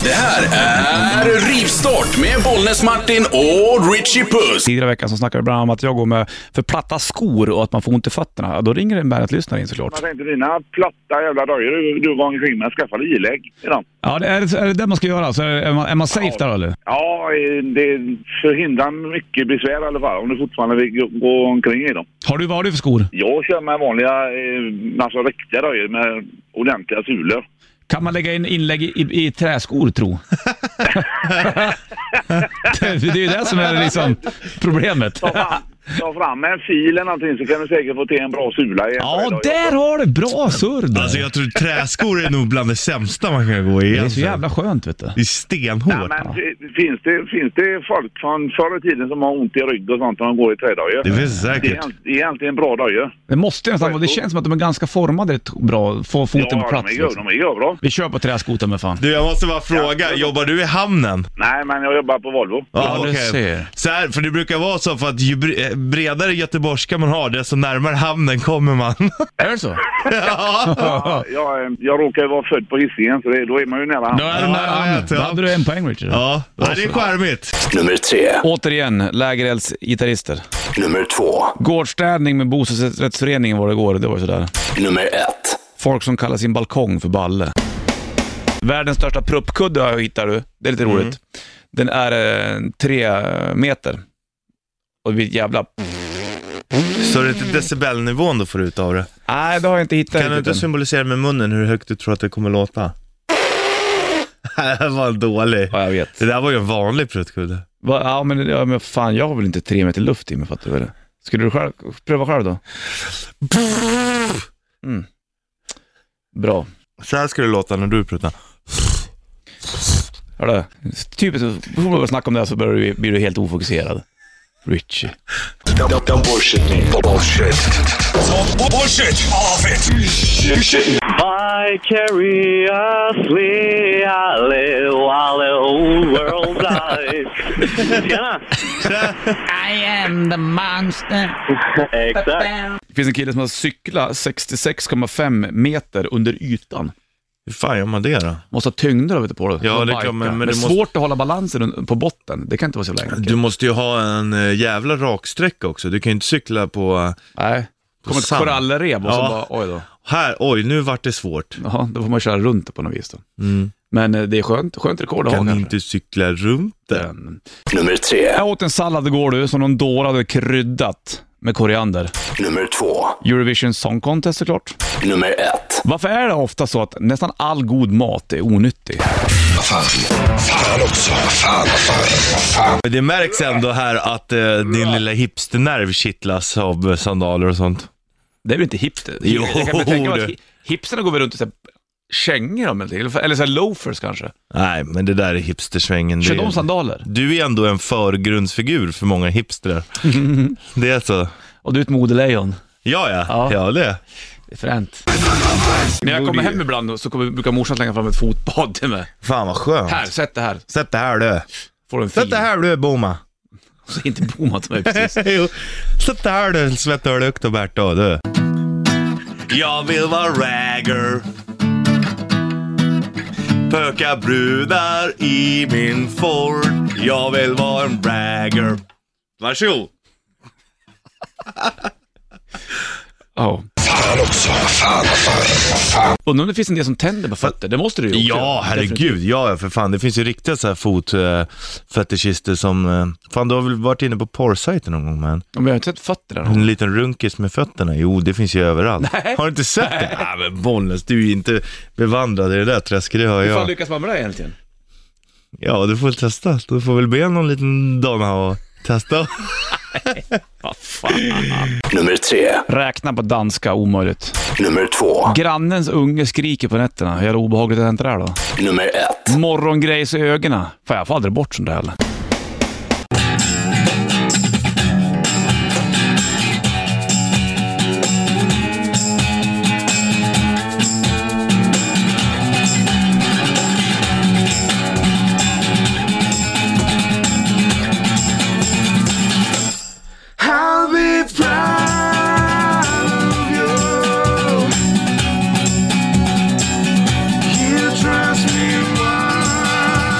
Det här är Rivstart med Bollnäs Martin och Richie Puss. Tidigare i veckan så snackade vi bland annat om att jag går med för platta skor och att man får ont i fötterna. Ja, Då ringer en Bandet-lyssnare in såklart. Man tänkte dina platta jävla dojor du, du var omkring med, skaffa dig ilägg i dem. Ja, det är, det- är det det man ska göra? Så är, är, man, är man safe där eller? Ja, eh, det förhindrar mycket besvär i alla fall om du fortfarande vill gå- gå omkring i dem. Har du, vad har du för skor? Jag kör med vanliga, eh, alltså riktiga dojor med ordentliga sulor. Kan man lägga in inlägg i, i, i träskor tro? det, det är ju det som är liksom problemet. Ta fram, ta fram en fil eller någonting så kan du säkert få till en bra sula i en sån här Ja, doja. där har du! Bra surr där. Alltså jag tror träskor är nog bland det sämsta man kan gå i. Det är alltså. så jävla skönt vet du. Det är stenhårt. Nej, men fi- finns det, finns det folk från förr i tiden som har ont i rygg och sånt när de går i trädojor? Det finns Det är säkert. egent- det är egentligen bra dojor. Det måste nästan vara, det känns som att de är ganska formade rätt bra. Få foten på Ja, plats. de är gör, liksom. de är gör bra. Vi kör på träskotan med fan. Du, jag måste bara fråga. Jobbar du i hamnen? Ah, Nej, men jag jobbar på Volvo. Ja, du okej. ser. Så här, för det brukar vara så för att ju bre- eh, bredare göteborgska man har, desto närmare hamnen kommer man. Är det så? ja. Jag, eh, jag råkar ju vara född på Hisingen, så det, då är man ju nära hamnen. Då är de Ja, där jag hamnen. vet, Då ja. hade du en poäng Richard. Ja, ja, det är charmigt. Nummer tre, Återigen, lägereldsgitarrister. nummer två, Gårdsstädning med bostadsrättsföreningen var det igår, det var ju sådär. nummer ett, Folk som kallar sin balkong för balle. Världens största pruppkudde hittar du, det är lite Mm. roligt. Den är eh, tre meter. Och det blir ett jävla... Så det är till decibelnivån du får ut av det. Nej, det har jag inte hittat Kan du inte riktigt än. symbolisera med munnen hur högt du tror att det kommer låta? det var en dålig. Ja, jag vet. Det där var ju en vanlig pruttkudde. Va, ja, men, ja, men fan, jag har väl inte tre meter luft i mig, fattar du väl? Skulle du själv, pröva själv då? Mm. Bra. Så här ska det låta när du pruttar. Hörru, typiskt, så fort man börjar snacka om det här så börjar du, blir du helt ofokuserad. Richie. Vicariously I live while the whole world dies. Tjena! I am the monster. Exakt. Det finns en kille som har cyklat 66,5 meter under ytan. Hur fan gör man det då? Måste ha tyngder vet du, på det. Ja, Och det bajka. kan man, men Men det måste- svårt att hålla balansen un- på botten. Det kan inte vara så länge. Du måste ju ha en eh, jävla raksträcka också. Du kan ju inte cykla på... eh, Nej. Kommer ett Sand. korallrev och så Ja. bara, oj då. Här, oj, nu vart det svårt. Ja, då får man köra runt det på något vis då. Men eh, det är skönt, skönt rekord att ha Mm. Kan ni kanske. inte cykla runt det? Den. nummer tre, Jag åt en sallad igår du, som någon dåre hade kryddat med koriander. nummer två, Eurovision Song Contest såklart. nummer ett. Varför är det ofta så att nästan all god mat är onyttig? Men det märks ändå här att eh, din lilla hipsternerv kittlas av eh, sandaler och sånt. Det är väl inte hipster? Jo, jag kan väl tänka mig att du. hi- hipsterna går väl runt i så här kängor om eller till, eller så här loafers kanske. Nej, men det där är hipstersvängen. Det Kör är- de sandaler? Du är ändå en förgrundsfigur för många hipstrar. det är så. Och du är ett modelejon. Ja, ja. Ja. Ja, det. Det är fränt. När jag kommer hem ibland så kommer, brukar morsan slänga fram ett fotbad till mig. Fan vad skönt. Här, sätt det här. Sätt det här du. Får du en fin. Sätt det här du, Boma. Så inte bommat mig precis. Jo. Sätt det här du, Svettölukt och Berta du. Jag vill vara ragger. Pöka brudar i min Ford. Jag vill vara en ragger. Varsågod. Ja. Undrar om det finns en del som tänder på fötter? Det måste det ju också Ja, göra. Definitivt. herregud. Ja, ja, för fan. Det finns ju riktiga så här fotfetischister som... eh, Fan, du har väl varit inne på porrsajten någon gång, man? Ja, Men jag har inte sett fötter där. En liten runkis med fötterna. Jo, det finns ju överallt. Nej. Har du inte sett det? Nej, men Bollnäs, du är ju inte bevandrad i det där träsket, det hör Hur fan jag. lyckas man med det egentligen? Ja, du får väl testa. Du får väl be någon liten donna och testa. Vad fan. Nummer tre, Räkna på danska, omöjligt. nummer två, Grannens unge skriker på nätterna. Hur jävla obehagligt är det inte där då? nummer ett, Morgongrejs i ögonen. Fan, jag får aldrig bort sånt där heller. I'll be proud of you. You trust me well.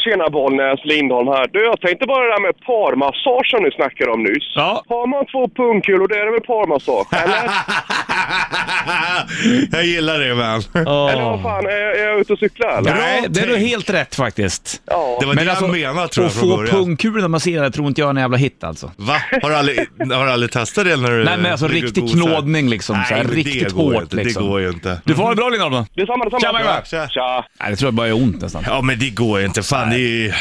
Tjena Bollnäs, Lindholm här. Du, jag tänkte bara det där med parmassagen ni snackade om nyss. Ja. Har man två pungkulor, då är det väl parmassage? Eller? jag gillar det man. Eller vad fan, är, jag- är jag ute och cyklar eller? Nej, det är nog tänkt. helt rätt faktiskt. alltså, Ja. Det var det jag menade tror jag att från få början. Mm. pungkulorna masserade tror inte jag är en jävla hit alltså. Va? Har du aldrig, har du aldrig testat det? När du, Nej men alltså när du riktig gosar? knådning liksom. så här, men riktigt det går ju hårt inte, liksom. Det går ju inte. Du får ha det bra Lindholm då. Detsamma, detsamma. Tja, Magnus. Tja. Tja. Nej, det tror jag bara gör ont nästan. Ja men det går ju inte. Fan det, är ju, Mm.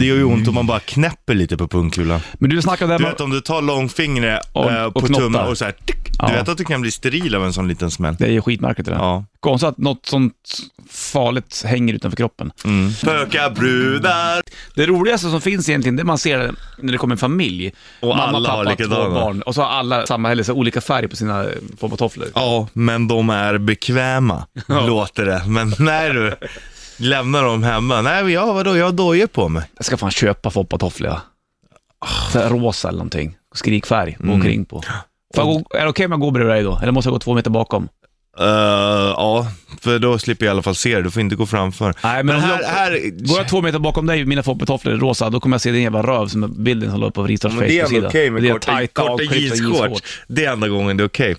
det gör ju ont om man bara knäpper lite på pungkulan. Men du snackade om det Du här vet med... om du tar långfingret Och- eh, och på tummen knottar. och så här, tick, Ja. Du vet att du kan bli steril av en sån liten smäll. Det är ju skitmärkligt det där. Ja. Konstigt att något sånt farligt hänger utanför kroppen. Spöka brudar. Det roligaste som finns egentligen, det man ser när det kommer en familj. Och alla har likadana. två barn. Och så har alla samma, eller så här, olika färg på sina på, på tofflor. Ja, men de är bekväma, låter det. Men när du lämnar dem hemma, nej men ja, vadå, jag har dojor på mig. Jag ska fan köpa Foppa-tofflor ja. Så här rosa eller någonting. Skrikfärg, gå omkring på. Mm. Får jag gå, är det okej om jag går bredvid dig då? Eller måste jag gå två meter bakom? Eh, ja, för då slipper jag i alla fall se det. Du får inte gå framför. Nej, men om här, jag- här, Går jag två meter bakom dig, mina Foppa-tofflor är rosa, då kommer jag se din jävla röv som är bilden som låg på Ristorps men det är ändå Facebook-sida. okej med Det är korta, tajta, korta avklippta jeansshorts. jeansshorts. Det är enda gången det är okej.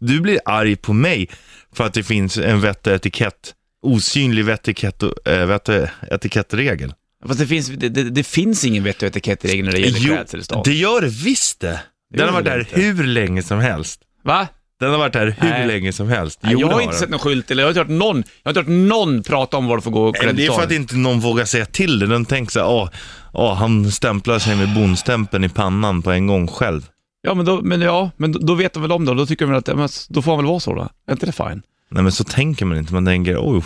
Du blir arg på mig för att det finns en vett och etikett. Osynlig vett etikett och, eh, vett och etikettregel. Fast det finns, det, det, det finns ingen vett och etikettregel när det gäller klädsel i stan. det gör det visst det. Den gör har varit det där inte. hur länge som helst. Va? Den har varit där hur Nej. länge som helst. Nej, jag det har inte den. sett någon skylt eller jag har inte hört någon, jag har inte hört någon prata om var du får gå och Men klädd det är för att inte någon vågar säga till det. Den tänker så här, åh, åh, han stämplar sig med bonstämpeln i pannan på en gång själv. Ja, men då, men ja, men då- då vet de väl om det och då tycker de väl att, ja, men, då får han väl vara så då. Är inte det fine? Nej men så tänker man inte, man tänker, oh,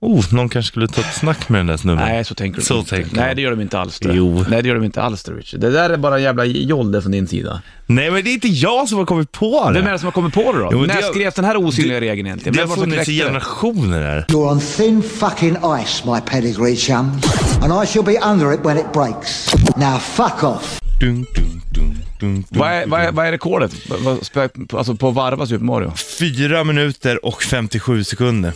oh någon kanske skulle ta ett snack med den där snubben. Nej, så tänker de Så inte. tänker Nej, de. det gör de inte alls det. Jo. Nej, det gör de inte alls det, Richard. Det där är bara en jävla jolle från din sida. Nej men det är inte jag som har kommit på det. Vem är det som har kommit på det då? Jo, men När det- skrevs den här osynliga regeln egentligen? det har Vem var som funnits i kläckte det? generationer här. You're on thin fucking ice, my pedigree chum. And I shall be under it when it breaks. Now fuck off. Dun, dun, dun, dun, dun. Vad är, vad, är, vad är rekordet? Vad- vad spö- Alltså på att varva Super Mario? Fyra minuter och 57 sekunder.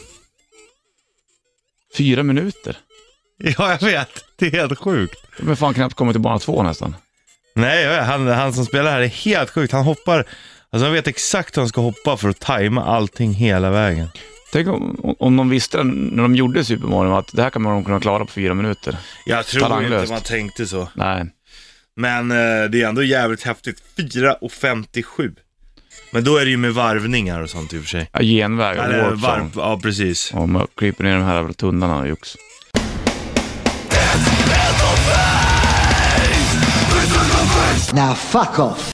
Fyra minuter? Ja, jag vet. Det är helt sjukt. Men fan knappt kommit till bana två nästan. Nej, jag vet. han, han som spelar här är helt sjukt. Han hoppar, alltså han vet exakt hur han ska hoppa för att tajma allting hela vägen. Tänk om, om de visste det när de gjorde Super Mario att det här kan man kunna klara på fyra minuter. Jag tror inte Talanglöst. man tänkte så. Nej. Men eh, det är ändå jävligt häftigt. 4.57. Men då är det ju med varvningar och sånt i och för sig. Ja, genväg och Eller warp zone. varv, ja precis. Om jag kryper ner de här jävla tunnlarna och jox. Now fuck off.